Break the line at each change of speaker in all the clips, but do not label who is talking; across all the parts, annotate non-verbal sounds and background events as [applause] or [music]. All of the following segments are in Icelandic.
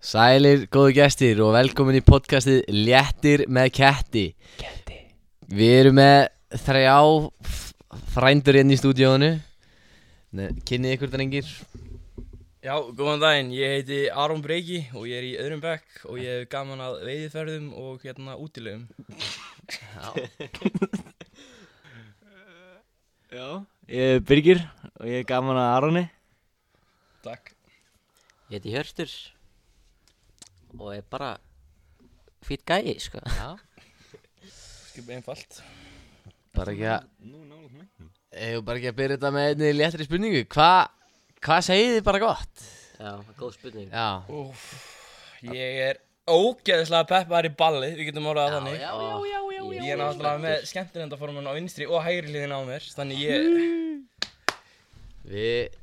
Sælir, góðu gestir og velkomin í podcastið Léttir með Ketti
Ketti
Við erum með þrjá f- frændur hérna í stúdíónu Nei, Kynnið ykkur drengir
Já, góðan daginn, ég heiti Aron Breki og ég er í öðrum bekk og ég hef gaman að veiðiferðum og hérna útilegum
Já, ég er Birgir og ég er gaman að Aroni
Takk
Ég heiti Hjörstur og er bara fýtt gæi, sko.
Já
Skip einfalt
Bara ekki að Eða bara ekki að byrja þetta með einni léttri spurningu Hva, hvað segið þið bara gott?
Já, góð spurning.
Já
Úf, Ég er ógeðslega peppar í balli, við getum orðað það þannig
já, já, já, já, já.
Ég er náttúrulega með skemmtilendaformun á vinstri og hægri hliðin á mér Þannig ég,
Við,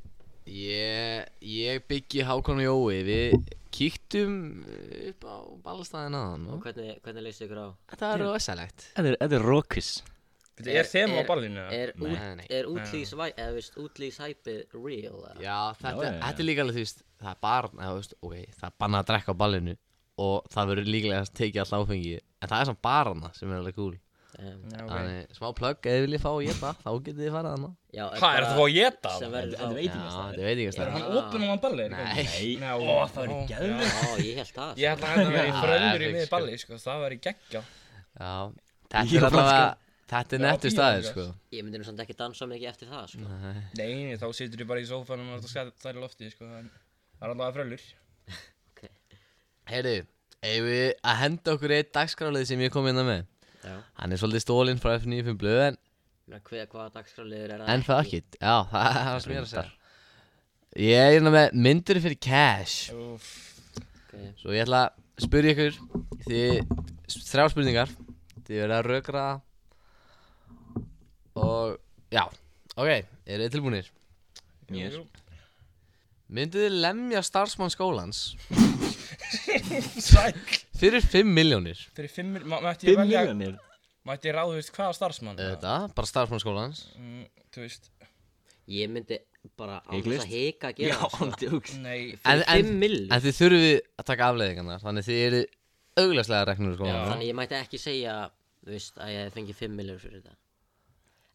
ég, ég byggi Hákon og Jói Við kíktum upp á ballstæðin aðan
Og
og
hvernig, hvernig leist ykkur á?
Þetta var rosalegt
Þetta er, þetta er Rokis
Veitu, er þema á ballinu? eða?
Er, út,
Nei, nei.
er útlýsvæ, eða veist, útlýshæpið real? eða?
Já, þetta,
já, já.
þetta er líka alveg, þú veist, það er bara, eða, þú veist, ok, það er bannað að drekka á ballinu og það verður líklega að tekið alltaf áfengi, en það er samt barana sem er alveg cool.
Um,
Já, ok.
Þannig, smá plögg, ef þið viljið fá að geta, þá getið þið farað hana.
já, er
Hvað, er
bara-
þetta að geta?
Sem
það?
verður
Þetta- þetta
þá...
veit-
Já, þetta veit ég að
Er
stæða.
hann opinn á hann balli?
Nei.
Nei, ó, það verður geðvegt
Já, ég held það.
Ég
sko.
ætla að hætta með í
Já,
fröður í
epic,
miði
sko.
balli, sko, það verður geggja
Já, þetta
Ég
er
var
allavega,
sko-
þetta er
Já,
nettur
fílan,
staðir,
guys.
sko.
Ég myndi nú samt ekki dansa mikið eftir það, sko.
Nei, nei, þá situr ég bara í sófanum og það er í lofti, sko, en það er allavega frölur.
Heyrðu, eigum við að henda okkur eitt dagskrálið sem ég kom hérna með.
Já.
Hann er svolítið stólinn frá F95 blöð, en
Mér hver, hvaða dagskráliður er það?
En það ekki, já, [laughs] það það var sem ég er að segja Ég er hérna með myndur fyrir cash
Úff.
Okay.
Svo ég ætla að spyrja ykkur Því þrjá spurningar Því verða að rökra Og já, ok, eru þið tilbúinir?
Jú, jú.
Mynduð þið lemja starfsmann skólans
Sæl.
Fyrir 5 miljónir
Fyrir fimm, mil- ma- mætti ég
5
velja,
miljonir
mætti ég ráða, þú veist, hvaða starfsmann?
Þetta, bara starfsmann skólans
Mm, Þú veist,
Ég myndi bara án
Hiklaust?
þess að hika
Já,
að gera það, sko.
ándjóks
nei,
En, en,
5 millir.
en þið þurfið að taka afleiðingarnar Þannig þið eru augljóslega reknur skólans
Þannig ég mætti ekki segja, þú veist, að ég hef fengið 5 millir fyrir þetta.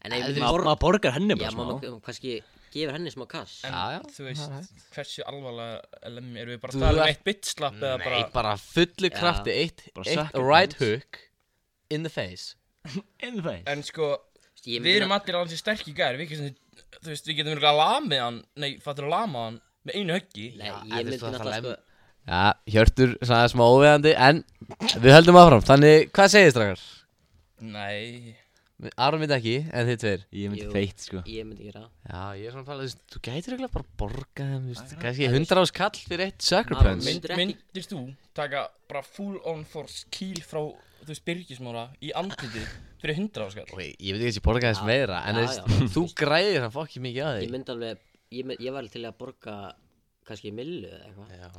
En ef
En
ég
þú-
myndi
Maður borgar henni
Já,
bara smá
maður kannski gefur henni smá kass
en,
já, já,
þú veist, hversu alvarlega lemmi, erum við bara
Þú
að tala um
ert-
eitt bitslap eða
Nei,
bara,
bara, fullu
Já.
krafti Eitt,
Bara
eitt
suck it,
right hook In the face
In the face
en sko,
Ég
við erum allir alveg sterk í gær, við getum, þú veist, við getum verið að lamið hann, nei, fattur að lama hann með einu höggi.
Nei,
Já, en
ég myndi
þú ert
náttúrulega
alltaf
sko
Já, Hjörtur sagði smá óveðandi En við höldum áfram Þannig, hvað segir strákar?
Nei,
Aron myndi ekki, en þið tveir
Ég myndi
Jú.
feitt sko
Ég myndi gera það
Já, ég er svona að fara, þú veist, Þú gætir eiginlega bara að borga þeim þú veist, Kannski 100 ás kall fyrir eitt sucker
Aron
punch
Myndir ekki-
myndir þú taka bara full on force kýl frá, þú veist, byrgismóra í andlitið fyrir hundra áskall?
Ok, ég veit ekki að ég borga þess
Já,
meira En
já,
þú veist,
já.
þú græðir hann fokki mikið á
Ég
þig
myndi alveg Ég, mynd, ég var til að borga kannski millu eða eitthvað
Já,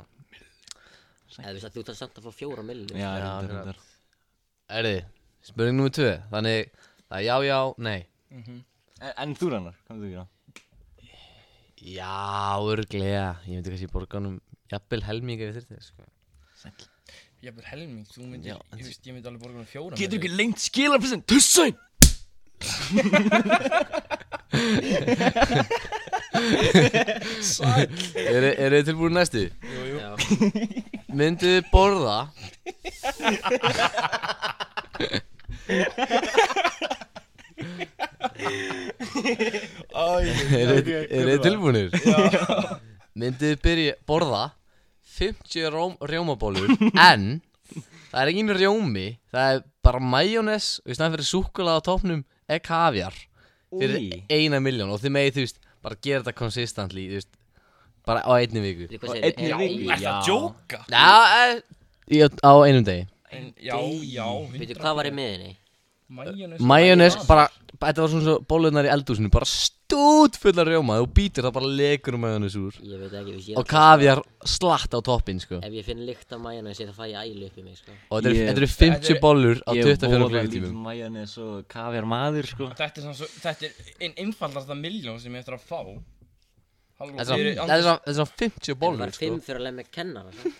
Eða þú veist að þú þarf samt að fá fjóra millu
Já,
Já,
reyndar,
akkurat.
reyndar.
erði, spurning nr. 2 Þannig, það er já, já, nei
En- En þú rannar, hvað myndir þú gera?
Já, örglega Ég myndi kannski borga hann um jafnvel helming ef ég þyrfti sko.
Ég verður helming, þú myndir, ég veist, ég myndi alveg borga um fjóra
Getur
millir.
ekki lengt skilarpressin, tussain
Eru eru þið tilbúin í næstu?
Jú, jú,
Já,
Myndu þið borða Eru þið- eru þið tilbúinir? [laughs] Myndu þið byrja borða 50 róm, [laughs] rjómabólur En það er engin rjómi Það er bara majónes Og í snæðan fyrir súkula á topnum Er kafjar Fyrir
Új.
eina miljón Og þið megið þú veist Bara gera þetta consistently Þú veist Bara á einni viku
þú
Og
hvað
einni
segir
viku.
ert að
Já.
djóka?
Já, eh, í- á einum degi
En, já, já,
Veitu hvað var í miðinni?
Majónes
Majónes, bara, bara- þetta var svona svo bólunar í eldúsinu, bara stút fullar rjóma, þú býtir það bara lekur um majónes úr
Ég veit ekki, þú veist ég
og kafjar slatt á toppinn, sko
Ef ég finn lykt af majónæs ég þá fæ ég ælu upp í mig sko
og þetta eru-
Ég-
þetta eru 50
Þetta eru-
bollur á
Ég
24
voða lítil
klukkutímum
majónes og kafjar maður sko
Þetta er svona, svo- þetta er einn einfaldasta miljón sem ég eftir að fá Halló,
Þetta er
fyrir
svona- þetta er
Andrés-
svona þetta er svona 50
En það
bollur,
var
sko
fimm fyrir að lemja kennara sko.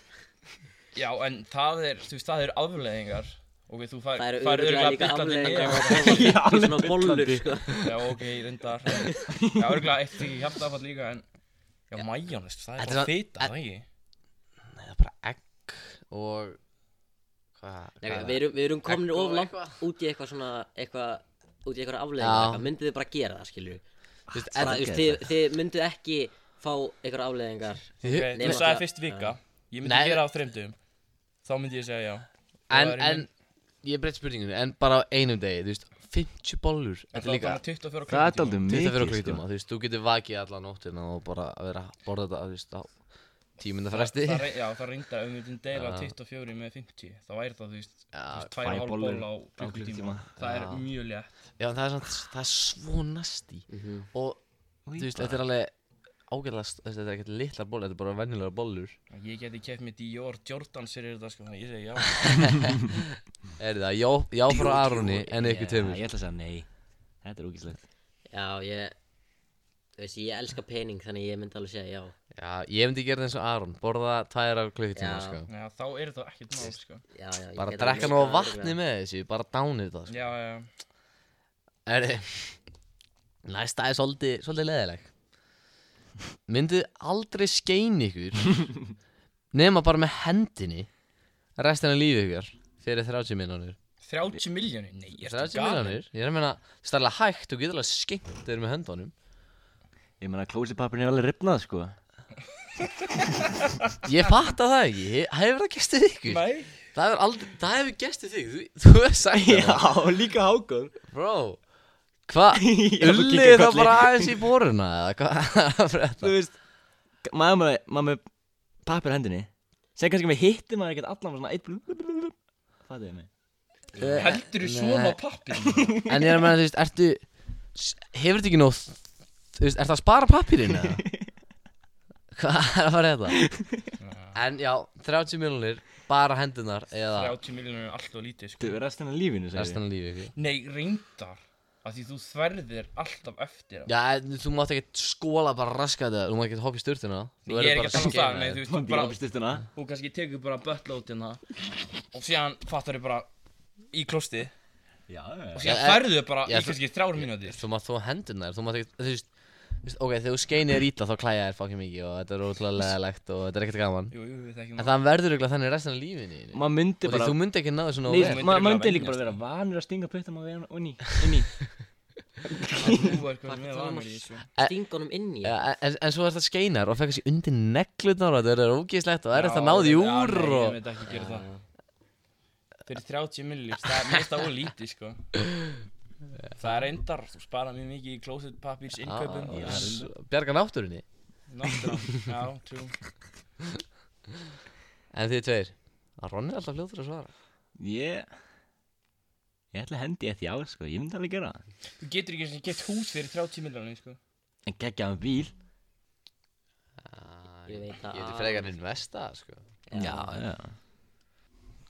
Já, en það er, þú veist, það er afleðingar Ok, þú fær,
Það eru
fær
örugglega
örugglega
líka
bullandi
afleðingar
nef.
á bollanum, í svona bollur sko.
Já, ok, reyndar Já, örgulega eitt ekki hjartafall líka en Já, majónist, það
Þetta er
er bara
svona-
fita, það ekki
Nei, það er bara egg og Hvað?
Nei,
hvað er
við erum, við erum komin
Egg og
of langt út í eitthvað svona eitthvað, út í eitthvað
Já.
afleðingar myndið þið bara gera það skilur
það? Þú veist,
bara,
egg-
just, þið, þið myndið ekki fá eitthvað afleðingar
Ég-
Ok,
nema
þú sagði
það-
fyrst vika Ég myndi
Nei.
gera það á þreymdum Þá myndi ég segja já Það
En,
væri
en,
minn-
ég breytt spurningunni, en bara á einum degi, þú veist, 50 bollur,
En
þetta er
það er
líka
bara 24
Það er
klukkutíma.
aldrei
24
mikið sko.
klukkutíma, þú veist, þú getur vakið alla nóttina og bara að vera að borða þetta, þú veist, á tímunda fresti. [laughs]
Það rey- Já, það reyndar ef við myndum deila
Já.
24 með 50 þá væri það, þú veist,
Já,
þú veist, tvær og
tvær
hálf
bollur
ból á
á
klukkutíma
klukkutíma.
Það er
Já.
mjög létt
Já, en það er, samt, það er svo nasti og, þú veist, þetta er alveg ágæðlega, þetta er ekkert litlar bollur, þetta er bara venjulega bollur.
Ég geti keft með Dior, Jordan sér þetta sko, þannig að ég segi já
[laughs] Er það, já, já frá Aroni en ykkur tveimur.
Ég ætla að segja nei Þetta er úkislegt
já ég þú veist ég elska pening þannig ég myndi alveg segja já
Já, ég myndi gera það eins og Aron, borða tvær á klukkutíma,
Já.
sko.
Já, þá er það ekkert mál sko
já, já, ég
Bara
get alveg
drekka
missað
nóg
það,
vatni
örugglega.
með þessu, bara dánið það, sko.
Já, já,
Er Næsta er svolítið, svolítið leðileg Myndið aldrei skein ykkur
[laughs]
Nema bara með hendinni Restina af lífi ykkur Fyrir 30 mínúnir
30 miljónir? Nei, ég er
30 mínúnir? Ég er að meina Stærlega hægt og geturlega skeint Þeir með höndunum
Ég meina klósipapirinn er alveg ripnað sko
Ég fatta það ekki Ég- Það hefur það gestið ykkur
Nei
Það hefur, aldrei, það hefur gestið þig Þú, þú er sækja
líka hágóð
Bro
[laughs]
Hvað?
Ég er að
Ulli
kinka
það
kolli.
bara aðeins í boruna eða hvað? [laughs]
Þú veist Maður með, maður með papir á hendinni Segð kannski með hittir maður ekkert allan svona eitt blú blú blú blú Það er mig
Heldur þú svona
[laughs]
pappir?
En ég er að menna, þú veist, ertu s- Hefur þetta ekki nóg Þú veist, ertu að spara pappirinn
[laughs]
eða? Hvað er að fara í þetta? En já, 30 miljonir Bara hendunar eða
30 miljónir er alltaf lítið
Þú
sko
er restin af lífinu segir
restan af lífi ekki?
Nei, reyndar Af því þú þverðir alltaf eftir á.
Já, en þú mátt ekki skóla bara raskat eða Þú mátt ekki hoppa í sturtuna
Nei, Ég er ekki að tala um það, nei, þú veist,
Þú
þú
býr
bara
upp í styrtuna
og kannski tekur bara böllótina og síðan fattar þau bara í klosti
Já
og
Já,
síðan
en-
færðu þau bara
já,
í kannski þrjár mínútur
Þú mátt þú hendunar Þú mátt ekki, þú veist þú veist, Ok, þegar þú skeinir ítla þá klæja þér fokkið mikið og þetta er ótrúlega leðalegt og þetta er ekkert gaman
Jú, jú, við þekkjum
En það verður eiginlega þannig restan af lífinu þínu.
Maður myndi
Og því
bara
þú myndi ekki ná þessu nógu
Nei,
vel.
myndir
maður
bara
myndi
venjast
líka bara vera vanur að stinga puttum á veginn og inn í inn í.
það Þú er hvað
Hvað
með sko.
ertu að
vanur í
tala
þessu
sting honum inn í
Eh, Já, en, en svo er þetta skeinar og fekk þessi undir neglutnar og þetta er ógeðslegt og það er þetta
Já,
náði
já,
úr
nei, Ég
og
myndi ekki gera það Fyrir 30 millilís, það er mest á og lítið sko Það er endar, þú spara mjög mikið í closet pappírs innkaupum
Já,
Yes.
s- Ah, bjarga náttúrunni
Náttúrulega, já, trú
en þið tveir að Ron er alltaf fljóður að svara
Ég Ég ætla að hendi eitt já sko, ég myndi alveg gera það
Þú getur ekki eins og gett hús fyrir 30 millilís sko
En geggja hann bíl
Ég veit
Ah.
það.
Ah, ég veit frekar investa sko.
já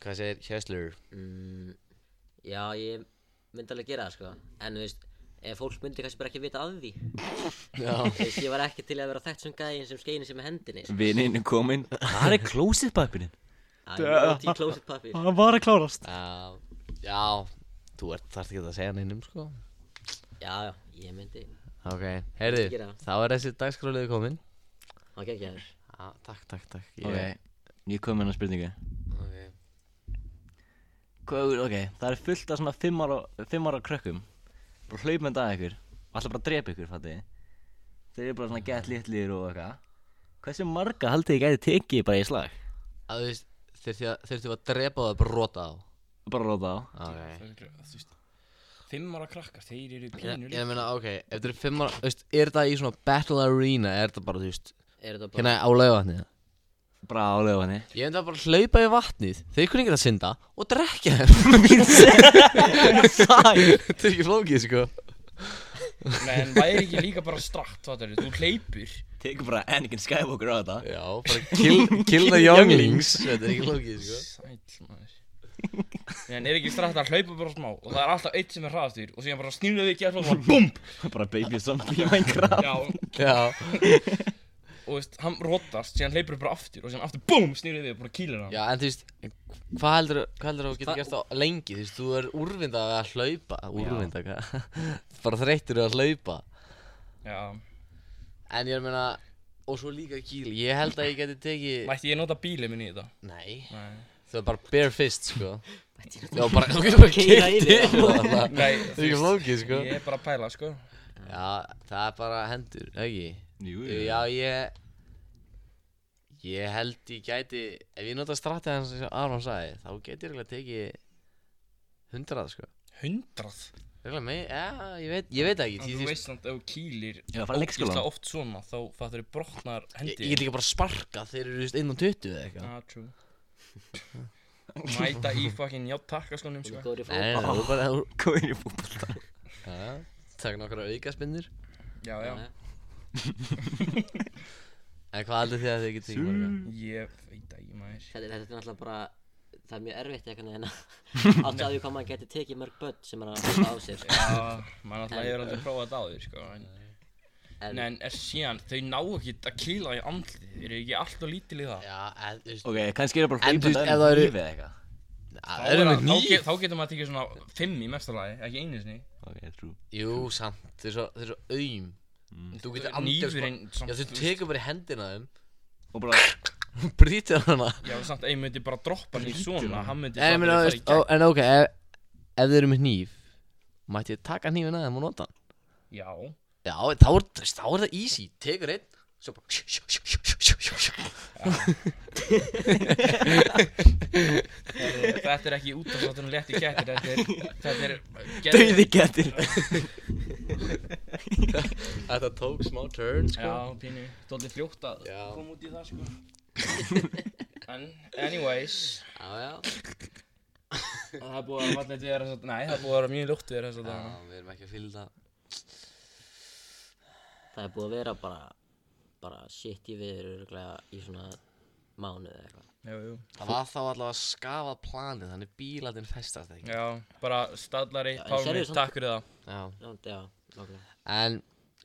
hvað segir Hjæslur
Mm, já, ég myndi alveg gera það sko En þú veist, ef fólk myndi kannski bara ekki vita að því
já,
Þú veist, ég var ekki til að vera þekkt sem gæðin sem skeinir sér með hendinni sko.
Vinnin er kominn Það er klósitpapirinn
Æ, ég er út í closet pappir
Hann var að klárast
já, Ah, já þú ert þarft ekki að segja neinum sko
Já, já, ég myndi
ok, heyrðu,
Gera.
þá er þessi dagskráliðu komin
Það gekkja þér
ah, takk, takk, takk
Ok, ég kom með hann spurningu
okay.
Hvað, ok, það er fullt af svona fimm ára, fimm ára krökkum Bara hlaupmend að ykkur Og alltaf bara að drepa ykkur, fattu Þeir eru bara svona gett litlir og eitthvað Hversu marga haldið þið gæti tekið bara í slag?
að þú veist þurftu að, þurftu að drepa það brota á
Bara róta á
ok
Það er örugglega, þú veist, Fimm ára krakkar, þeir eru
Já,
pínu
Ég er að meina, ok, ef þetta er fimm ára, þú veist, er þetta í svona battle arena, er þetta bara, þú veist,
Er þetta bara
hérna á laugavatnið?
Bara á lögunni
Ég myndi að bara hlaupa í vatnið, þeir kunni ekki að synda og drekja þeim. [laughs]
Sæl
þetta er ekki flókið, sko.
Nei, en væri ekki líka bara strakt, fattar þú, þú hleypur
Tekur bara Anakin Skywalker á þetta
Já, bara kill, kill the younglings, þetta er ekki flókið, sko.
Sæll maður Nei, en er ekki strakt að hlaupa bara smá og það er alltaf eitt sem er hraðastýr og síðan bara snýrðu við ekki alltaf og bara BOOM
Bara baby zombie í Minecraft
Já,
Já,
og veist, hann rótast, síðan hleypur bara aftur og síðan aftur, búm, snýrið við og bara kýlir hann
Já, en þú veist, hvað heldur hvað heldur þú getur gert þá lengi, þú veist, þú er úrvinda að hlaupa, úrvinda, hvað, [laughs] bara þreyttur að hlaupa,
Já.
en ég er að meina, og svo líka kýl, ég held að ég geti tekið,
Mætti ég nota bílið minn í þetta?
nei,
Nei
það er bara bare fist, sko, já, bara, þú getur bara
Keyra
keyrt
yfir.
yfir það, það
Nei,
það er ekki flókið, sko,
Ég er bara að pæla, sko
já, það er bara hendur, ekki,
Jú, jú.
já, ég, ég held ég gæti, ef ég nota stratið hans sem Aron sagði, þá geti ég eiginlega tekið hundrað, sko.
Hundrað?
Örugglega mei- Já, ég veit, ég veit það ekki
En
því,
þú
því,
veist samt, ef þú kýlir
Ég var að fara að leikskóla.
ógeðslega oft svona, þá fattur þið brotnar hendi
sko. ég, ég get líka bara sparka þegar eru inn á 20 eða eitthvað
Ah, true Mæta í fucking játtakkaskónum,
Þú
sko
góður í
Nei, nei, nei,
fótbolta.
þú bara þú-
Góðin í fútbolta
Já, Takk nokkra aukaspinnur
Já, já
Já, já.
En hvað heldur þið að þið getið ekki marga?
Ég veit ekki, maður
Þetta, þetta er náttúrulega bara Það er mjög erfitt eitthvað en að átti að því hvað maður geti tekið mörg börn sem er að hlusta á sig sko.
Já, maður alltaf hefur aldrei prófað þetta áður, sko en-
En-
Nei, en er síðan, þau ná ekki að kýla í andlið Þeir eru ekki alltaf lítil í það
Já, en þú veist
Ok, kannski er það bara
En þú veist, ef
hlaupandi að
það
það
eru-
lífið eða eitthvað
að
Þá
Það eru
er
með
að- þá
nýf
get- Þá getur maður að tekið svona fimm í mestalagi, ekki einu sinni
Ok, trú
Jú, samt, þau eru svo, þau eru svo aum Þú getur andjast
Nýfurinn
Já, þú tekur bara í hendina á þeim
Og bara
og Brýtir hana
Já, samt að ég myndi bara droppa hann í
Bíddu,
svona,
maður.
hann myndi
En,
aldrei
mena,
fara í
veist,
gegn.
ó, en ok, ef, ef þau eru með nýf Mætti ég taka nýfin að þeim og nota hann
Já,
Já, þá er, þú veist, þá er það easy Tekur einn Svo bara
þetta er ekki útastáttunum létt í kettir, þetta er, þetta er, geðveikt.
Dauði getur
Þetta tók smá turn, sko.
já, pínu, stóðið fljótt að
Já.
koma út í það, sko. En, anyways,
Já, já
það er búið að vatnið við þess að, nei, það er búið að vera mjög ljótt við þess að það.
við erum ekki að fylgja
Það er búið að vera bara bara shit í viður örglega í svona mánuð eða eitthvað
Jú, jú.
Það var þá allavega að skafa planið, þannig bíladinn festast ekki.
Já, bara stallari,
en
pálmi,
sérðu samt-
takk fyrir það.
Já.
Já, já, nákvæmlega
En,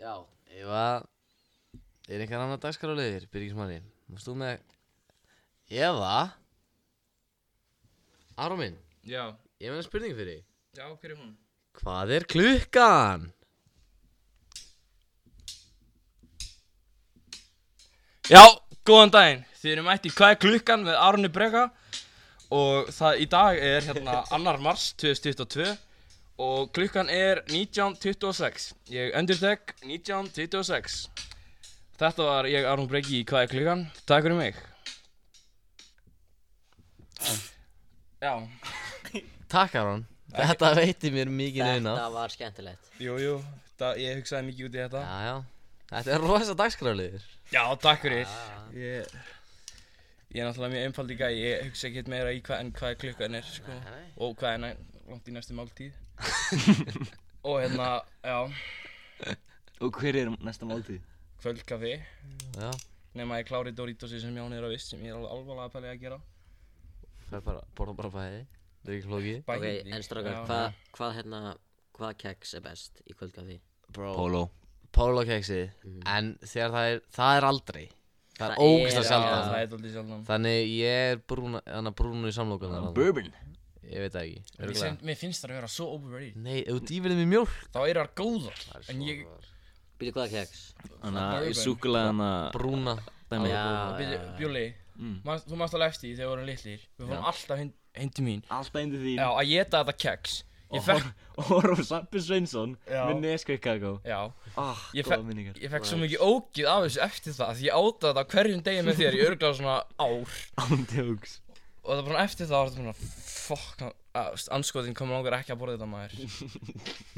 já, ef að, er einhver annar dagskaráliðir, Byrgismanni? Mást þú með, eða, Aron minn,
Já,
ég meina spurningu fyrir þig.
já, hver er hún?
Hvað er klukkan?
Já, góðan daginn. Þið erum mætt í Hvað er klukkan með Arni Brega og það í dag er hérna [laughs] 2. mars 2022 og klukkan er 19.26. Ég endurtek 19.26. Þetta var ég Arnur Bregi í Hvað er klukkan. Takk fyrir mig. Já,
Takk Aron, þetta veitir mér mikið neina.
Þetta var skemmtilegt
jú, jú, það, ég hugsaði mikið út í þetta.
Já, já, þetta er rosa dagskaráliðir.
Já, takk fyrir. Ég, ég er náttúrulega mjög einfald í gæi, ég hugsa ekkert meira í hvað en hvað klukkan er, sko.
nei.
Og hvað er næ- langt í næstu máltíð. og hérna, já,
Og hver er næsta máltíð?
kvöldkaffi.
Já,
Nefn að ég klári Doritos sem Jón er að viss, sem ég er alveg alvarlega að pælega að gera.
það er bara, borða bara bæði, það er ekki flókið.
Ok,
Bæði.
en strákar,
Já.
hvað, hvað hérna hvað keks er best í kvöldkafi?
Bro.
Polo
pólokeksið
Mhm.
en þegar það er, það er aldrei það er
Það er
ógæslega
aldrei.
Já,
sjaldan
það er dálítið sjaldan.
þannig ég er brúna, hann er brúnu í samlokunar
Bourbon
ég veit það ekki
Ég
örugglega.
sem- Mér finnst það að vera svo overrated.
nei, ef þú dýfir þeim í mjólk
Þá eru það góðar, en ég,
Býtu hvað keks?
Þannig
Bourbon.
að súkulega
brúna
Dæmi
Já,
Bíddu,
já.
Bjúli, manst- þú mást alveg eftir því þegar við vorum litlir. Við fórum alltaf heim- heim til mín.
Alltaf indi þín
Já, að geta þetta keks. Ég fekk,
[laughs] Og horf á Sappi Sveinsson
Já.
Með Nesquik kakó
já,
Ah,
Ég
góða
fe-
minningar
Ég fekk svo mikið ógið af þessu eftir það Því ég átaði þetta á hverjum degi með þér í örglega svona ár
Ándjóks
Og það bara eftir það var þetta bara Fuck, hann- að, þú veist, anskotin kom langar ekki að borða þetta maður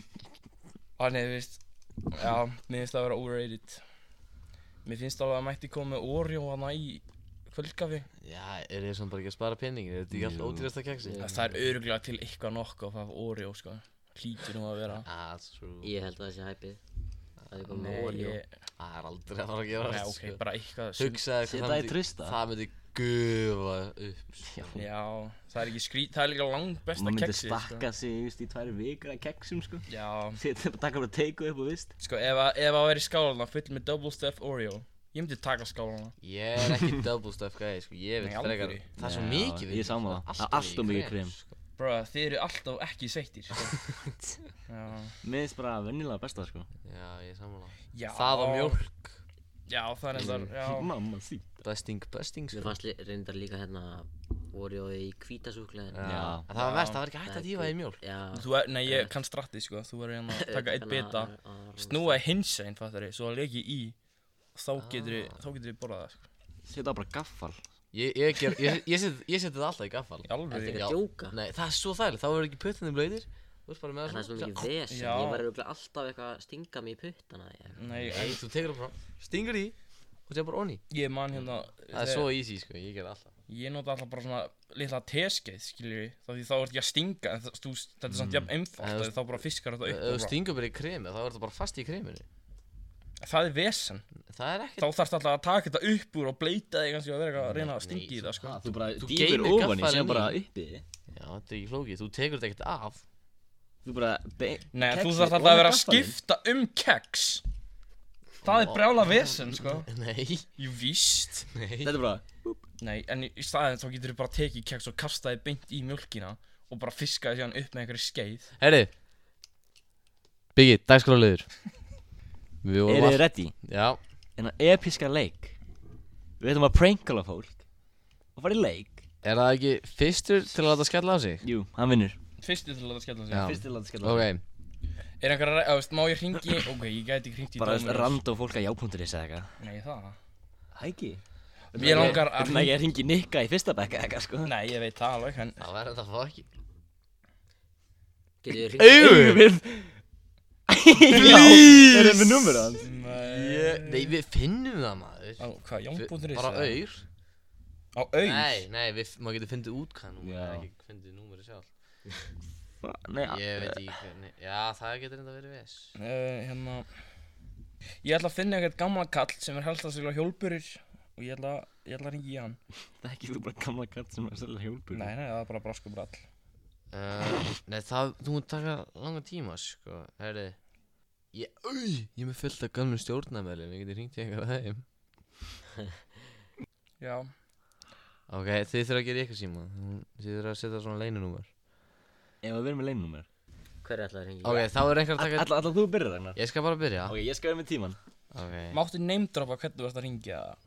Þannig, þú veist Já, mér finnst það að vera overrated Mér finnst alveg að mætti koma með Oreo hana í kvöldkafi
já, er þið sem bara ekki að spara penning er þetta ekki alltaf ódýrasta keksið
Það er örglega til eitthvað nokkuð að hafa Oreo, sko Hlýtur nú að vera
that's Ah, true
Ég held að það sé hæpið að þið komum
Nei,
með Oreo
ég-
það er aldrei að fara að gera
Nei,
það,
ok,
sko.
bara eitthvað sem-
hugsaði
Setja
hvað
það í
myndi-
trista.
það myndi gufa upp sko.
Já
Já, það er ekki skrít, það er líka langt besta
Man myndi
keksið, sko
stakka sig, just, í tvær vikur að keksum, sko [laughs]
Já,
Þetta er bara að taka bara teiku upp og vist
Sko, ef að, ef að væri skálan full með double stuff Oreo Ég myndi taka skálana
Ég er
[laughs]
ekki double stuff guy, sko, ég
Nei,
veit
alvöru.
frekar Það er svo
Já,
mikið
ég er sammála. Það er allt of mikið krem.
sko.
Bro, þið eru alltaf ekki sveittir sko. Já,
Mér finnst bara vennilega besta sko
Já, ég er sammála
já
Það og mjólk
Já, það er endar, já
[laughs] Mamma sí
Besting, besting,
Mér
sko
fannst li- reyndar líka hérna Oreo í hvítasúklaðin
Já,
Já.
en það var verst, það var ekki hægt að dýfa í mjólk
Já
Þú er, nei, ég kann stratti, sko Þú verður hérna að taka eitt bita Snúa hins einn, fattar þið Svo að leki í Þá getur þið, þá getur þið borðað það, sko
Seta bara gaffal
Ég, ég, ger, ég, ég, set, ég seti það alltaf í gaffal
Í alveg
Ertu
Já.
að djóka?
Nei, það er svo þærlega, þá verður ekki puttinni blöyðir Þú veist bara með
Það er svo
svona-
mikið vesen,
Já. Mm.
ég var örugglega alltaf eitthvað að stinga mig í puttana eða eitthvað.
Nei,
Nei, þú tekur það frá, stingur í og það bara onni
ég man hérna
Það er svo easy, sko, ég ger það alltaf
Ég nota alltaf bara svona litla teskeið, skiljur við Þá því þá ert ég að stinga en það- þú, Þetta er samt jafn
Ef
einfalt
Mm. þú-
að Þá bara fiskar þetta
Ef
upp
þú
og bara-
stingur bara í kremi, þá er það bara fast í kreminu
Það er vesen
Það er ekkert
Þá þarfst alltaf að taka þetta upp úr og bleita þig kannski og vera eitthvað að reyna að stingi í það sko.
Þú bara
Þú
dýfir
geymir
ofan í
gaffalinn
sem bara
í.
uppi
Já, þetta er ekki flókið, þú tekur þetta ekkert af
Þú bara be-
Nei, þú
kexið
þarfst alltaf
ofan
að
í
vera að
gaffalinn.
skipta um keks Það er brjála vesen sko.
[laughs] Nei,
Jú víst
nei
Þetta er bara
Nei, en í í staðinn þá getur þú bara tekið keks og kastaði beint í mjölkina og bara fiskaði síðan upp með einhverju skeið
Herri Biggi, dagskráliður Við
Er
vorum
þið
all...
ready?
Já,
En að episka leik Við ætlum að prankala fólk Og fara í leik
er það ekki fyrstur til að láta skella á sig?
Jú, hann vinnur
Fyrstu til að þetta skella sig
Já.
Fyrst til að skella
Ok,
Er einhver að, þú veist, má ég ringi Ok, ég gæti ekki ringt í
Bara
Dóminós.
random fólk að jápunktur eða eitthvað
Nei, það
Hæki
Ég langar að
Þannig að ég ringi Nikka í fyrsta bekka eða eitthvað sko
Nei, ég veit það alveg, en
það verður þetta að fá ekki
[laughs]
Getur þið hringt?
Eigum
við Please Erum við numur hans?
við Nei, við finnum það maður
Á, hvað,
Við-
Jón.is?
Bara auður
Á auð?
Nei, nei, við, maður getur fundið út hvað númer
Já.
er, ekki fundið númerið sjálf
Nei,
Ég veit ekki hvernig Já, það getur enda verið ves
Uh, hérna Ég ætla að finna eitthvað gamla kall sem er helst að segla hjólburir og ég ætla, ég ætla að ringi í hann
það er ekki þú bara gamla katt sem er að selja hjólpur
Nei, nei, það er bara braskubrall
uh, Nei, það, þú mun taka langa tíma, sko Herri Ég, au, ég er með fullt af gamlu stjórnamælum, ég geti hringt í eitthvað þeim
Já
Ok, þið þurfa að gera ykkur síma Þið þurfa að setja svona leinunúmer
Ef við erum með leinnúmer
Hver er alltaf að ringi?
Ok, þá er einhver að taka Ah.
Alla, alla þú byrjar Ragnar
Ég skal bara byrja
Ok, ég skoði með tíman
Ok
Máttu neymdropa hvernig þú ert að [laughs] ringja það?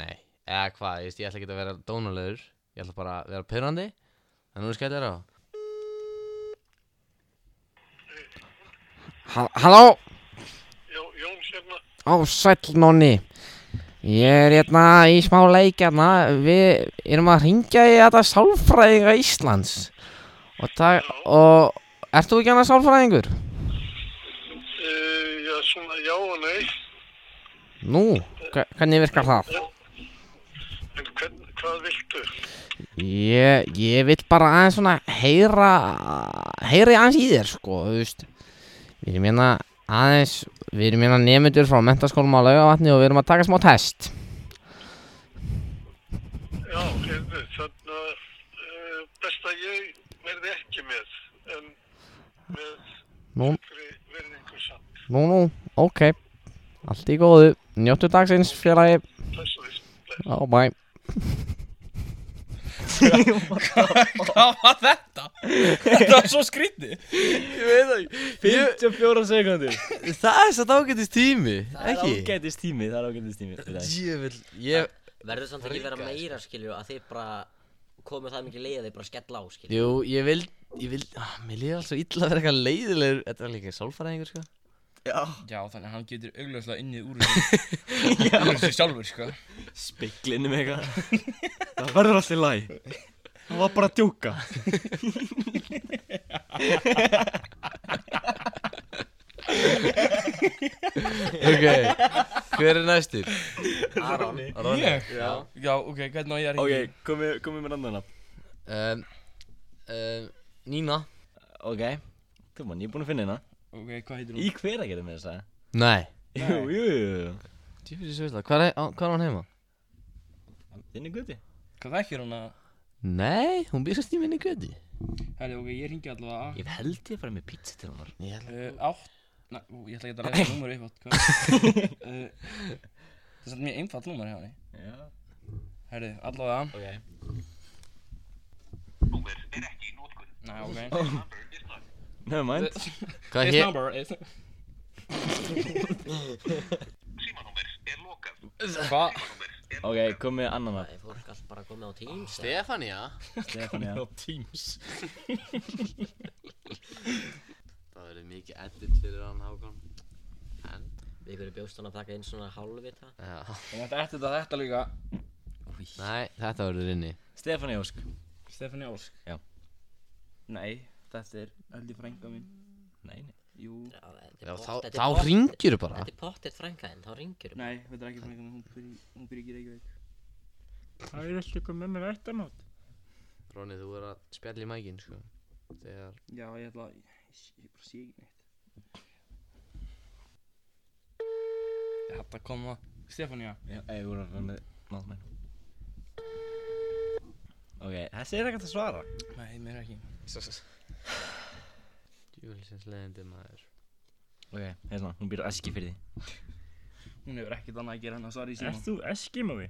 Nei Eða hvað, ég veist, ég ætla ekki að vera dónulegur Ég ætla bara að vera pyrrandi En nú er skætt þér á
Halló,
Jó, Jóns hérna,
á sæll nonni Ég er hérna í smá leik hérna Við erum að ringja í þetta sálfræðinga Íslands Og það, og Ert þú ekki annað sálfræðingur?
uh, já, svona já og nei,
Nú, hve- hvernig virkar það?
en hvern, hvað viltu?
Ég, ég vil bara aðeins svona heyra Heyri aðeins í þér sko, þú veist Við erum hérna aðeins Við erum hérna nemyndur frá mentaskólum á laugavatni Og við erum að taka smá test
Já, heyrðu, þannig að uh, best að ég verði ekki með, en með
Nú,
fyrir verðingu samt.
nú, nú, ok Allt í góðu, njóttu dagsins félagi
Þess að því,
Oh my
Hvað var þetta? þetta var svo skrýtti
Ég veit ekki
54 sekundur
Það er satt ágætist tími,
Það er
ekki?
ágætis tími, það er ágætis tími Nei,
Djöfull, ég
Verður samt ekki
Ríka,
vera meira skilju að þið bara komið það mikið leið að þið bara skella á skilju
Jú, ég vil Ég vil, ah, mér líður alltaf illa að vera eitthvað leiðilegur Þetta var líka sálfræðingur, sko
Já, þannig að hann getur augljóslega innið úr þessu [laughs] Úr þessu sjálfur, sko
Speglinum eitthvað [laughs] Það verður alltaf í lagi Það var bara að djóka
Ok, hver er næstur?
Aron,
Ég? Já Já, ok, hvernig á ég að ringja?
Ok, komið komi með andan nafn
Um, um, Nína
Ok Þú mann, ég er búinn að finna hérna
Ok, hvað heitir hún?
Í hver að gera með þessa?
Nei
Jú, jú, jú
Djöfull, ég svo veist það, hvað er á- hvar er hann heima?
Þinni guti
Hvað þekkir hún að?
Nei, hún býrst í minni göti
Herri, ok, ég ringi allavega Eh,
Ég held ég bara með pizza til hann
Ég held
[laughs] uh, Átt Næ, ú, ég ætla ekki að lesa númur upp átt Hvað? uh, Það er svolítið mjög einfalt númer hjá henni.
Já.
Herðu, allavega.
Ok
Númer er ekki í nótkun.
Næ, ok.
Number is not.
Never mind.
Hvað
His
hér?
number is...
Símanúmer er lokað.
Hva?
Númer er
Ok, komið annan
Það
nafn.
er fólk allt bara komið á Teams
Ah,
eða?
Stefania?
Stefania.
Teams.
Það verður mikið edit fyrir hann Hákon En?
Við hverju bjóst hann að taka inn svona hálfvita
Já
Ég ætti eftir þetta þetta líka.
Nei, þetta verður inni
Stefania Ósk.
Stefani Ósk.
Já.
Nei, þetta er held ég frænga mín.
Nei, nei.
Jú.
Já, þetta er
Já,
pott-
þá,
þetta er
þá
pott-
ringir bara
Þetta er pottir frænka þinn, þá ringir þú
Nei, þetta er ekki frænga mín, hún byrjir, hún byrjir ekki reykjavík. Það er alltaf eitthvað með mér ættamátt.
Ronny, þú verður að spjalla í mækinn, sko Þegar
Já, ég ætla að, ég, ég bara sé ekki neitt. Ég hætti að koma. Stefania.
Já, ég voru að vera með náttmenn. Ok, þessi er ekkert að svara.
Nei, mér ekki.
Júlisins leðindi maður
Ok, hérna, hún býr á eski fyrir því.
Hún hefur ekkert annað að gera henn að svara í síma.
Ert þú Eskimoði?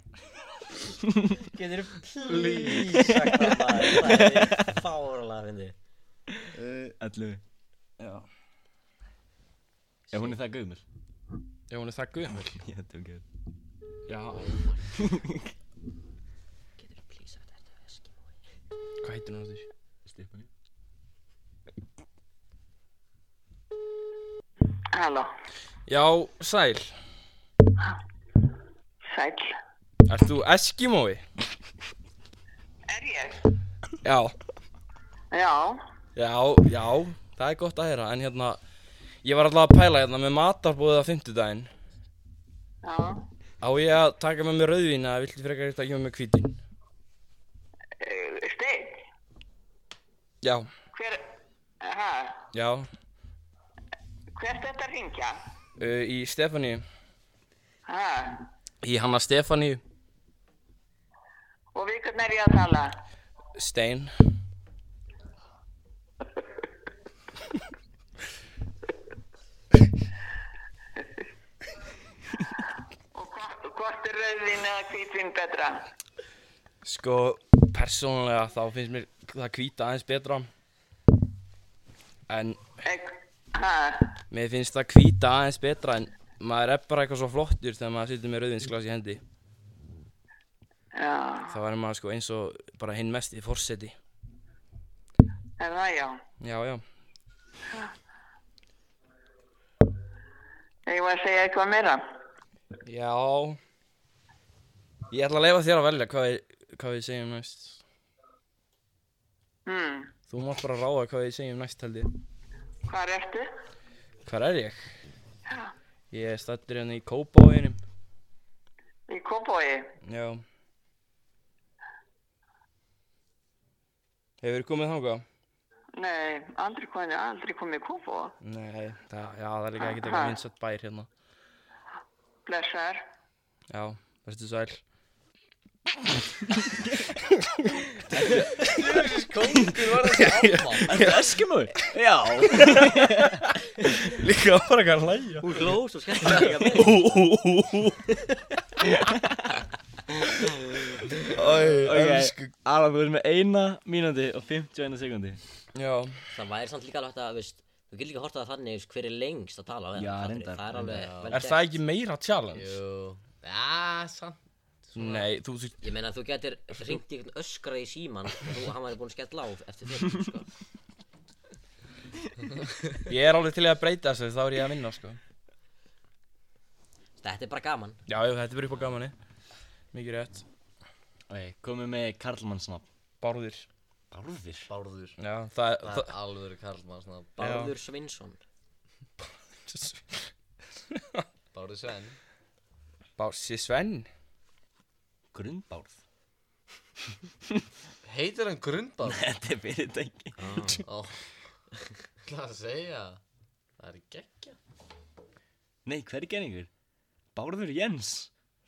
[laughs]
Getur þú please sagt það
[laughs]
maður Það er fárulega fyndi
Ellu.
Já.
Já, hún er það gömul.
Já, hún er það guðmjöl.
Ég held um gömul.
[laughs] Já.
Getur þú please sagt þetta er Eskimói
Hvað heitir hún þess?
[laughs] Stefania.
Halló,
Já, Sæl.
sæl.
Ert þú Eskimói?
Er ég?
Já.
Já,
Já, já. Það er gott að heyra, en hérna, ég var alltaf að pæla hérna með matarbúðið á fimmtudaginn.
já.
Á ég að taka með mér rauðvín eða viltu frekar eitthvað að gefa mér hvítin?
Uh, Steinn,
Já,
hver, ha,
já.
hvert þetta ringja?
Uh, í Stefaníu.
Ha,
Í hanna Stefaníu.
og við hvernig er ég að tala?
Stein.
Og hva- hvort er rauðvin eða hvítvin betra?
Sko, persónulega þá finnst mér það hvíta aðeins betra. En
Ek, ha,
mér finnst það hvíta aðeins betra en maður er bara eitthvað svo flottur þegar maður situr með rauðvinsglas í hendi.
já,
Þá er maður sko eins og bara hinn mest í forseti.
er það já.
Já, já.
Ég var að segja eitthvað meira.
Já. Ég ætla að leifa þér að velja hvað við, hvað við segjum næst.
Hmm,
Þú mátt bara ráða hvað við segjum næst held ég.
hvað ertu?
Hvar er ég? Ég er stættur hérna í Kópavóginum.
Í kópói.
Já. Hefur komið þangað?
Nei, aldrei komið, aldrei komið í kópó.
Nei, það, já, það er líka ekkert eitthvað vinsett bær hérna.
Blessar.
Já, verður sæl.
Er það Eskimoði? [laughs] Já.
Líka bara eitthvað að hlæja.
Hún hló svo skemmtilega [laughs] líka
[laughs]
með
Æ,
Ok, Alan, þú erum með eina mínúti og 51 sekundi.
Já,
Það væri samt líka alveg hægt að, veist Þú getur líka hort á það þannig, veist, hver er lengst að tala á henni
Já,
aldrei.
reyndar,
Það er alveg vel
er það ekki meira challenge?
Jú Já, samt
Nei, þú, þú,
Ég meina þú getur ringt í einhvern öskra í síman og þú, hann væri búinn að skella á eftir þér sko.
ég er alveg til í að breyta þessu, þá er ég að vinna, sko.
Þetta er bara gaman
Já, jú, þetta er bara upp á gamani. Mikið rétt.
Ok, komið með Karlmannsnafn.
Bárður.
Bárður?
Bárður
Já, það,
Það
það,
er alvöru karlmannsnafn
Bárður Svinsson
Bárður Sven
Bársi Sven.
Grunnbárð.
Heitir hann Grundbárð?
[laughs] Þetta er fyrirtæki.
Ó Hvað að segja? Það er geggja
Nei, hver er genningur? Bárður Jens.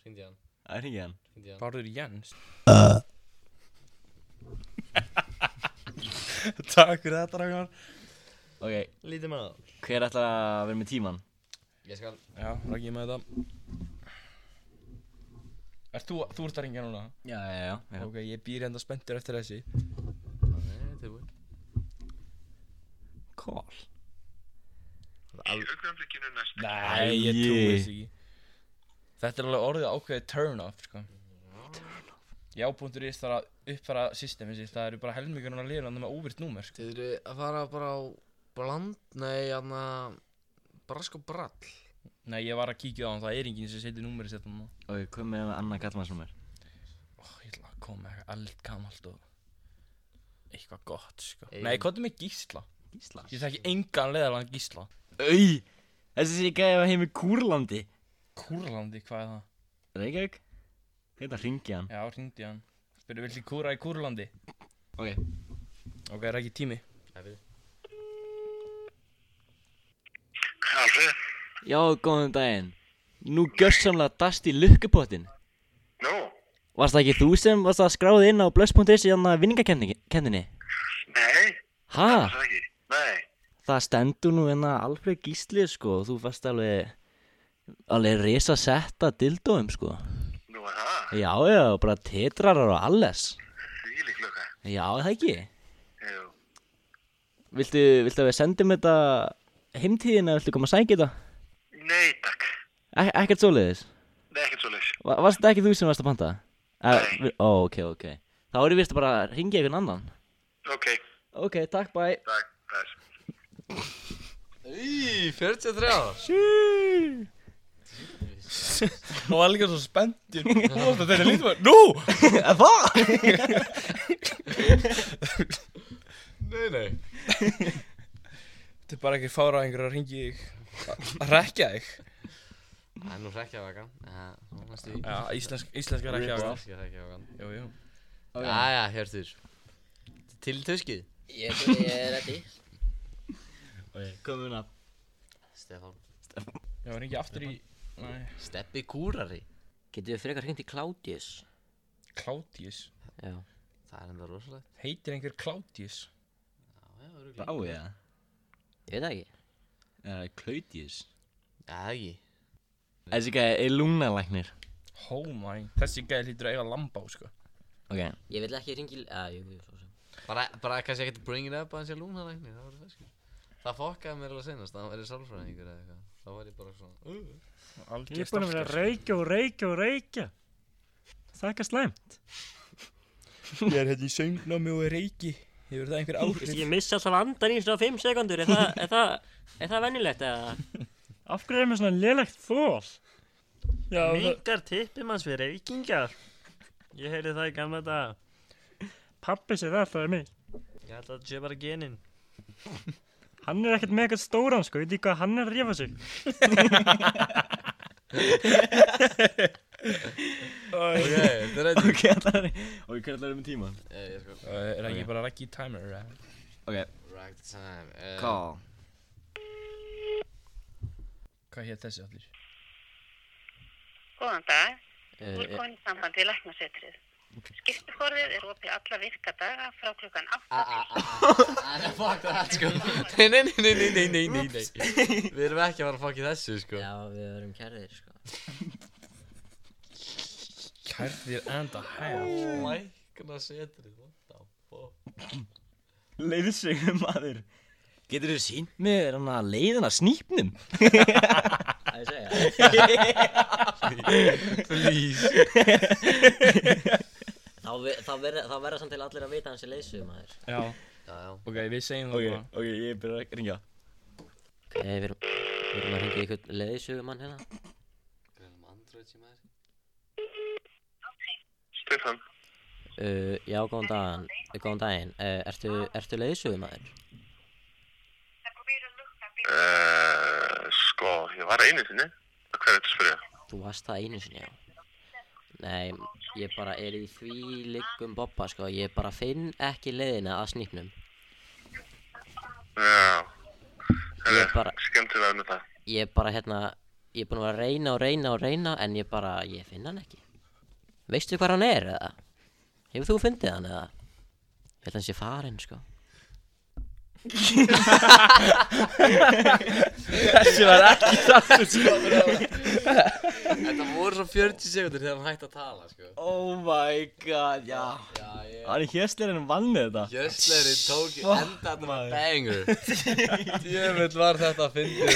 Hringdi í hann
Það er ekki hann.
Hringdi í hann
Bárður Jens. Takk fyrir þetta, Ragnar.
Ok,
Lítið með það
hver ætlar að vera með tíman?
Ég skal
Já, Raggi með þetta. Ert þú, þú ert að ringja núna?
Já, já, já, já.
Ok, ég býr enda spenntur eftir þessi Kól
Í augnablikinu næstu.
Nei, ég trúi þess ekki Þetta er alveg orðið ákveðið turn off, sko Turn off Já.is þarf að uppfæra systemi sitt Það eru bara helmingurinn að liða hann með óvirt númer, sko
Þið eru að fara bara á bland, nei, hann að brask og brall.
Nei, ég var að kíkja á hann, það er enginn sem setur númerið sitt hann
Ok, hvað með annan kallmannsnúmer?
Ó, ég ætla að koma með eitthvað eldgamalt og Eitthvað gott, sko Nei, hvað er með gísla?
Gísla
Ég þekki engan leðalan gísla
Í, þessi sem ég gæði að heim í Kúrlandi
Kúrlandi, hvað er það?
Reykjavík Þetta ringi hann
Já, hringdi í hann Spyrir, viltu kúra í Kúrlandi?
Ok
Ok, er ekki tími
Kalli,
Já, góðan daginn Nú gjörsamlega dast í lukkupottin
nú,
Varst það ekki þú sem varst að skráði inn á blöss.is í hann að vinningakendinni?
nei,
Ha?
það ekki, nei.
Það stendur nú hérna Alfred Gísli sko og þú fast alveg alveg risa setta dildóum sko
Nú er það,
Já já, og bara tetrarar og alles
því lík klukka.
Já, er það ekki
Jú,
Viltu, viltu að við sendum þetta heimtíðin eða viltu koma að sækja þetta?
nei takk,
E ekkert svoleiðis
nei ekkert svo leys.
Va Varst þetta ekki þú sem varst að panta? Eh, vi- Ó, ok, ok Þá erum við bara að ringja einhvern annan
Ok,
Ok, takk, bæ
takk, bless.
Í, 43 ára.
Nú var líka svo spenntur Þú varst að þetta lítið maður
[laughs]
Nú!
Hvað?
Nei, nei.
Þetta er bara ekki fára einhverju að ringi þig Að rekja þig
Það er nú hrekkjavagan. Það er næstu í.
Já, íslensk, íslenska rekja
Íslenska hrekkjavagan.
Jú, jú
Jæja, Hjörtur. Til tuskið.
Ég, ég er ready
Komum að
Stefán.
Já, ringi aftur í Nei,
Steppi kúrari.
Getur við frekar hringt í Claudius?
Klátís
Já
Það er enda rosalegt.
Heitir einhver Klátís?
Bá, já Eh,
Ég veit það ekki
Klautjus
Já, það ekki.
Þessi gæði er lungnalæknir
Oh my Þessi gæði hlýtur að eiga lambá, sko
Ok
Ég vil ekki hringi Já, jú, jú, svo sem
Bara, bara kannski ekkert bring it up að hans ég lúna lækni, það verður feskur. Það fokkaði mér alveg senast, það verið sálfræðingur eða eitthvað. Þá var ég bara svona, uh.
Ég er búin að vera
reykja og reykja og reykja Þakka slæm
Ég er hérna í söngnámi og er reiki Hefur það einhver [laughs] áhrif?
Ég missa alltaf andan í svona 5 sekundur, er það, er það, er það venjulegt eða?
Af hverju er með svona lélegt þól? Já, það-
Mingar tippum hans við reykingar. Ég heyrði það í gamla dag.
pabbi sér það, það er mig
Ég held að þetta sé bara genin.
Hann er ekkert með eitthvað stóran sko, ég veit ekki hvað hann er að rífa sig
Ok, þetta er eitthvað.
Ok, það er Og hvernig ætlaður um tíma?
Ég er sko,
Er ekki bara rekki í timer, eða?
right time. eh,
Call
Hvað hétt þessi allir?
Góðan dag. Þú er komin í samband við læknasetrið. Skiptuforðið er opið alla virka daga frá klukkan 8 til
Það er fuck that, sko. Nei, nei, nei, nei, nei, nei, nei, nei. Við erum ekki að fara að fokki þessu, sko.
Já, við verum kærðir, sko
Kærðir and a half
Lækna setrið, what the fuck.
Leiðsögum maður Getur þú sínt mér hann að leiðina snýpnum?
Það ég segja
Please.
Þá, ve- þá verða þá verða samt til allir að vita hans í leysu, maður
Já
Já, já.
Ok, við segjum það bara
ok, ég byrja að ringja
Ok, við erum, við erum að hringi ykkur leysugumann hérna
Greinum andröðs í maður.
Stefan,
uh, Já, góðan daginn, góðan daginn uh, Ertu, ertu leysugumaður?
uh, sko, ég var einu sinni. Hvað er þetta að spyrja?
Þú varst það einu sinni, já Nei, ég bara er í því liggum bobba, sko Ég bara finn ekki leiðina að snýpnum
Já,
Ég bara,
skemmtilega með það.
ég bara hérna ég er búinn að vera að reyna og reyna og reyna en ég bara, ég finn hann ekki veistu hvað hann er eða? hefur þú fundið hann eða? ég held að hann sé farinn sko
Þessi var ekki sattur sko
Þetta voru svo 40 sekundir þegar hann hætti að tala sko.
Oh my god, já Hann er hérslirinn en vann með þetta
Jössleirinn tók í enda þetta var
maður.
banger
[laughs]
Djöfull var þetta að fyndi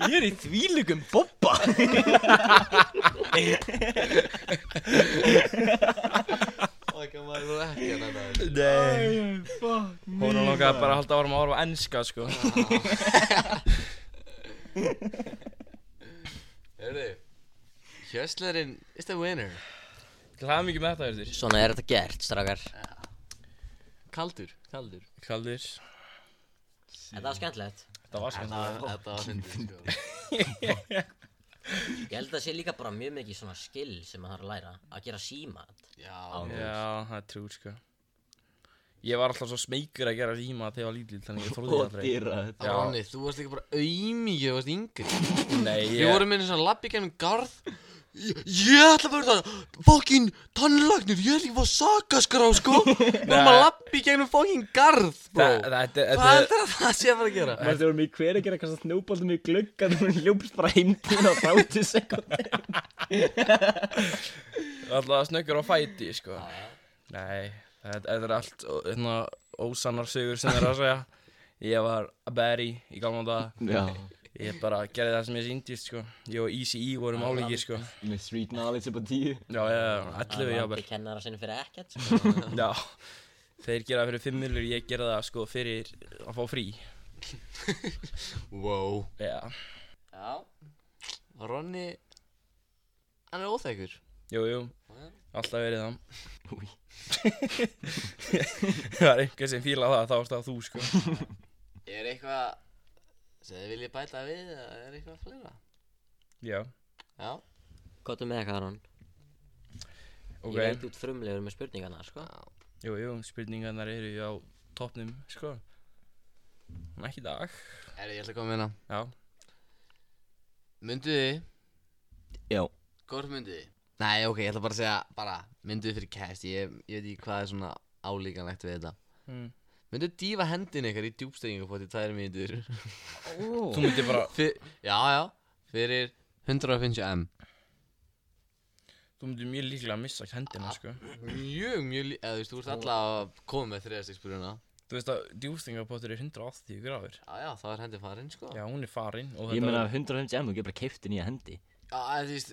Ég er í þvílugum bobba
Það var nú ekki hann að
Nei Fuck me
Hún langaði bara að halda árum að horfa á enska sko
Hörðu Jössleirinn is the winner
Glæða mikið með þetta Hjörður
Svona er þetta gert, strákar
Kaldur Kaldur
Kaldir
Þetta var skemmtilegt
Þetta var skæmt
Þetta var fyndi sko.
Ég held að það sé líka bara mjög mikið svona skill sem maður þarf að læra Að gera símat
Já
Já, það er trú sko Ég var alltaf svo smeykur að gera ríma þegar ég var lítill Þannig ég þorði
Og
það
dýra þetta
Ráni, þú varst líka bara aumingi og varst yngri
Nei,
Við
ég,
vorum með einu svona labbi gennum garð Ég, ég ætla að verða fokkin tannlagnir, ég ætla ekki að fá sakaskrá sko Við vorum að labbi gennum fokkin garð bro
það,
Hvað
þetta, þetta,
heldur að það sé að fara að gera?
Mætti vorum í hver að gera eitthvað snjóbaldum í glugga Þú hún hljópst bara heim til hún á 30 sekundi
alltaf snöggur á fæti sko Nei, þetta, þetta er allt ó- hérna, ósannar sögur sem þeir eru að segja Ég var að beri í gamla daga
Já
Ég bara gerði það sem ég síndist sko Ég og Easy E vorum álíkir sko
Með street knowledge upp á 10
Já, já, já, 11
Það
jábel
vandi kennara sinni fyrir ekkert sko.
Já Þeir gera það fyrir 5 milur, ég gera það sko fyrir að fá frí
Wow
Já,
Já Ronni Hann er óþægur
jú, jú, alltaf verið það [laughs] Það er einhver sem fíla það, þá erst það þú sko
Er eitthvað sem þið viljið bæta við eða er eitthvað fleira?
Já,
Já
Kottu með eitthvað hann Ég
ok,
veit út frumlegur með spurningana sko.
jú, jú, spurningarnar eru á toppnum sko En Ekki í dag
Er ég ætla að koma með hérna
Já,
Mynduð þið
Já
Hvort mynduð þið? Nei, ok, ég ætla bara að segja bara Mynduð þið fyrir kæst ég, ég veit ekki hvað er svona álíkanlegt við þetta
mm.
Mynduð þið dífa hendin ykkar í djúbstegningu fótt í tvær mínútur
þú myndir bara,
Fyr, Já, já Fyrir 150m
þú myndir mjög líklega að missa hendina sko
Mjög, mjög lí... Eða þú veist, þú ert alltaf að koma með þriðastigsbruna
Þú veist að djúfstingapottur er 180 gráður
Já, já, þá er hendin farin, sko
Já, hún er farin og
Ég
þetta
meina 150 m, þú getur bara keiftin í að hendi
Já, eða þú veist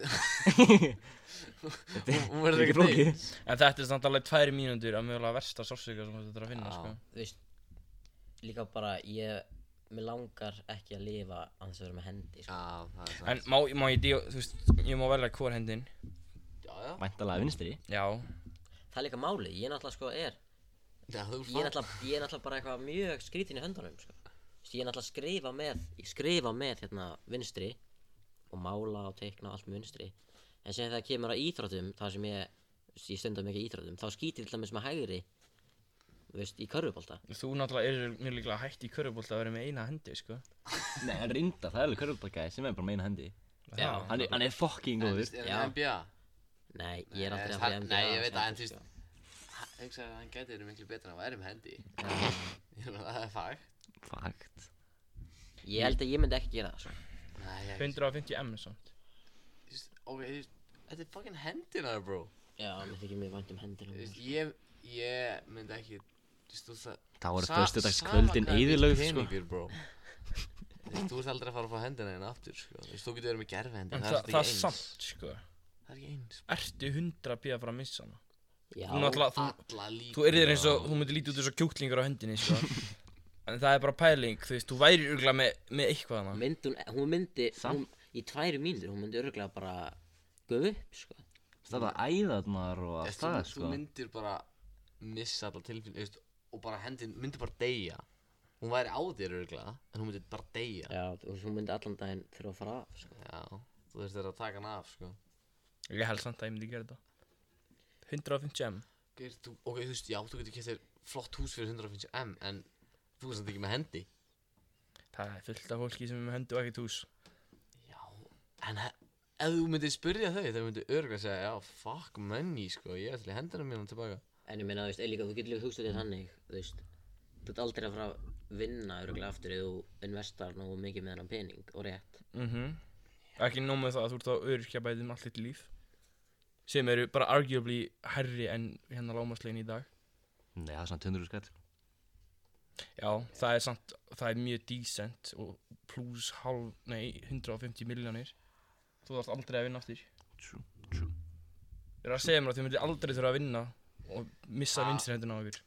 [laughs]
Þetta er
Hún verður
ekki
ekki
flókið.
neitt
En þetta er samt alveg tvær mínútur að mögulega versta sársöka sem þetta er að finna
Já.
sko
Þú veist Líka bara ég Mér langar ekki að lifa að þess að vera með hendi sko.
Já, það er
En
sant
má, má ég díu, þú veist, ég má velja hvor hendin
Já, já
Væntalega vinstri
Já,
Það er líka máli, ég náttúrulega sko er
Já, þú
Ég er
fann
náttúrulega, ég er náttúrulega bara eitthvað mjög skrítin í höndunum sko. Þú veist, Ég er náttúrulega að skrifa með Ég skrifa með hérna vinstri Og mála og teikna og allt með vinstri En sem það kemur að íþróttum þar sem ég, þú veist, ég stundum ekki í íþróttum Þá skýtir ég til dæmis með hægri Þú veist, í körfubólta
þú náttúrulega eru mjög líklega hægt í körfubólta að vera með eina hendi, sko
Nei, en rinda, það er alveg körfubakkaði sem er bara meina hendi
Já.
Hann er, hann er fucking
En þú
góður
veist, er
Já.
hann NBA?
Nei, ég er
Nei,
aldrei að
það-
fara í NBA
Nei, ég veit
samt,
það, en þú
sko.
veist Ég hugsa að hann gæti verið miklu betra en væri með
[laughs]
hendi Ég meina, Það er fag
Fakt
Ég held að ég myndi ekki gera það sko.
Nei, ég
150M samt
þú veist, Ok, þú veist Þetta er fucking hendinar, bro
Já, mér þykir mér vænt um hendur
Þú veist, ég Ég myndi ekki Þú veist, þú það
Þá voru
Sa-
föstudagskvöldin
sama hvað
eðilög,
mikill
sko
peningur, bro. Þú veist, Þú ert aldrei að fara að fá hendina hérna aftur sko. Þú veist, Þú getur verið með gerfi
En
hendina
það, það er
eins.
samt, sko
Það er ekki eins sko.
Ertu 100 píða frá að missa hana?
Já,
Þú náttúrulega, þú,
Alla líka
þú erðir eins og, þú myndir lítið út eins og kjúklingur á hendinni, [laughs] sko En það er bara pæling, þú veist, þú væri örgulega með, með eitthvað hana
myndi, hún- hún myndi hún, Í tværi mínútur, hún myndi örgulega bara Guð upp, sko
Það er að æða þarnar og allt
Þú
það,
þú
sko
myndir bara missa alla tilfinn Og bara hendin myndir bara deyja Hún væri á þér örgulega En hún myndir bara deyja
Já, og hún myndi allan daginn þurfa að fara af, sko.
Já Þú þurftir að taka hana af sko
Ég held samt að ég myndi gera þetta 150M
Geir, þú, Ok, þú veist, já, þú getur kætt þér flott hús fyrir 150m En þú veist þetta ekki með hendi
Það er fullt af fólki sem er með hendi og ekkert hús
Já, en he- ef þú myndir spyrja þau Þau myndir örgulega segja, já, fuck money sko Ég ætla í hendina mínum tilbaka
En ég meina, þú veist, eða líka, þú getur líka hugsað þér þannig, þú veist, þú ert aldrei að fara að vinna öruglega aftur ef þú investar nógu mikið með hennan pening og rétt
Mhm. Ekki nóg með það að þú ert á öryrkja bæðum allt þitt líf sem eru bara arguably herri en hérna lámaslegin í dag
Nei, það er svona 200 skall
Já, það er samt, það er mjög decent og pluss halv, nei, 150 miljónir Þú þarft aldrei að vinna aftur
True, true
Ég er að segja mér að þið myndir aldrei þurfa að vinna og missa ah. vinstrihendina á ykkur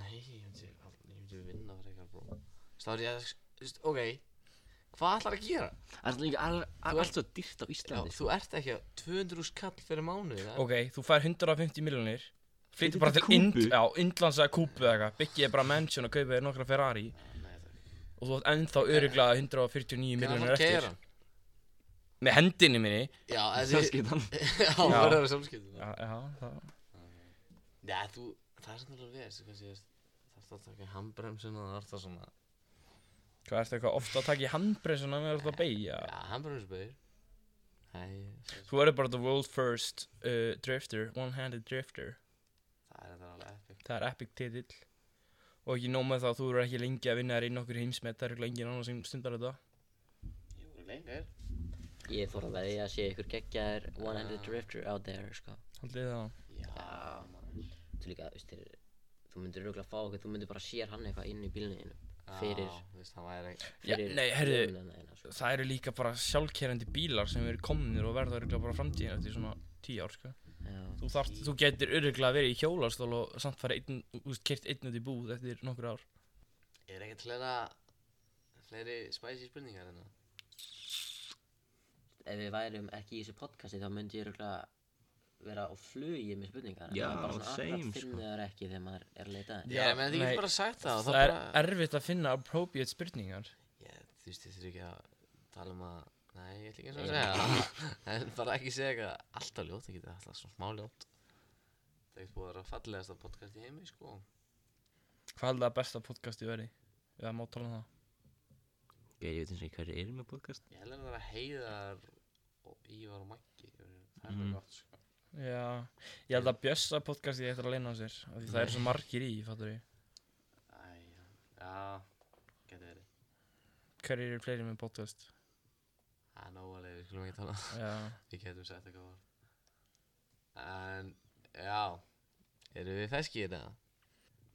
Nei, ég myndi, ég myndi vinna fyrir eitthvað bró Stáður ég að, þú veist, ok Hvað ætlar að gera?
Það er líka al- al- allt svo dýrt á Íslandi
þú ert ekki að 200 skall fyrir mánuði það er-
Ok, þú fær 150 miljónir
Flyttu
Flyttu bara
til
til Ind,
Kúbu?
já, Indlands eða Kúbu eða eitthvað Byggið þér bara mansion og kaupið þér nokkra Ferrari
Nei, það-
Og þú átt ennþá öruglega 149
Hvenær
miljónir
þarf að
eftir
keyra hann?
Með hendinni minni
Já,
Það
þessi
skýt hann
Já, það verður að samskipta
Já, já, það
Já, þú, það er samt alveg við, þú veist, það er að taka handbremsun og það er það svona
Hvað ertu eitthvað ofta að taka í handbreysun að mér alltaf að beigja?
Já, handbremsbauður Nei,
Þú verður bara the world first uh, drifter, one-handed drifter
það er þetta alveg epic
Það er epic titill Og ekki nóg með það, þú verður ekki lengi að vinna þér inn okkur heimsmet Það er ekki engin annar sem stundar þetta
Jú, lengur
ég fór að veðja að sé ykkur geggjaðir one-handed drifter out there sko.
Haldið þið það?
já þú líka, veist þér þú myndir öruglega fá okkur, þú myndir bara sér hann eitthvað inn í bílinu þínu fyrir,
Þú veist, það væri
Já,
fyrir
nei, heyrðu.
þjónuna þína, sko.
Það eru líka bara sjálfkerrandi bílar sem eru komnir og verða öruglega bara framtíðin eftir svona 10 ár, sko
Já.
Þú, þarft, þú getur öruglega verið í hjólastól og samt fara einn, úst, kert einn út í búð eftir nokkur ár
Er ekkert fleira, fleiri spicy spurningar hérna?
ef við værum ekki í þessu podcasti þá myndi ég örugglega vera á flugi með spurningar
Já,
maður bara
same,
akkurat
sko.
finnur þær ekki þegar maður er að leita að þeim.
Já,
Já, ég menn, þið
nei.
getur bara sagt það og
Það
það
er
bara
erfitt að finna appropriate spurningar
Ég, þú veist, þið þurfið ekki að tala um að Nei, ég ætla ekki eins og að segja það [laughs] En bara ekki segja eitthvað alltaf ljótt, það getur alltaf svona smá ljótt Það er ekkert búið að vera fallegasta podcast í heimi, sko
Hvað heldur að besta podcasti verði? Eða má tala um það?
Ok, ég veit eins og ekki hverju eru með podcast
Ég held að það er heiðar og Ívar og Maggi Það er mjög gott, sko
Já, ég held að Bjössa podcasti eftir að leina á sér af því það eru svo margir í, fattur ég
Æ, já, já, getur verið
Hverjir eru fleiri með podcast?
Það er nógulega, við skulum ekki tala um það.
Já,
[laughs] Við getum sagt eitthvað var En, já Eru við feski í þetta?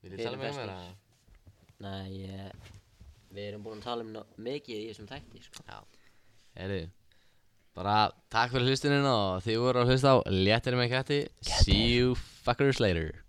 Viljið
Við
tala
erum
með um
feskir.
þetta?
Nei, ég, við erum búin að tala um nó- mikið í þessum þætti sko.
Heyri, bara takk fyrir hlustunina og þið voru að hlusta á Léttir með kætti See you fuckers later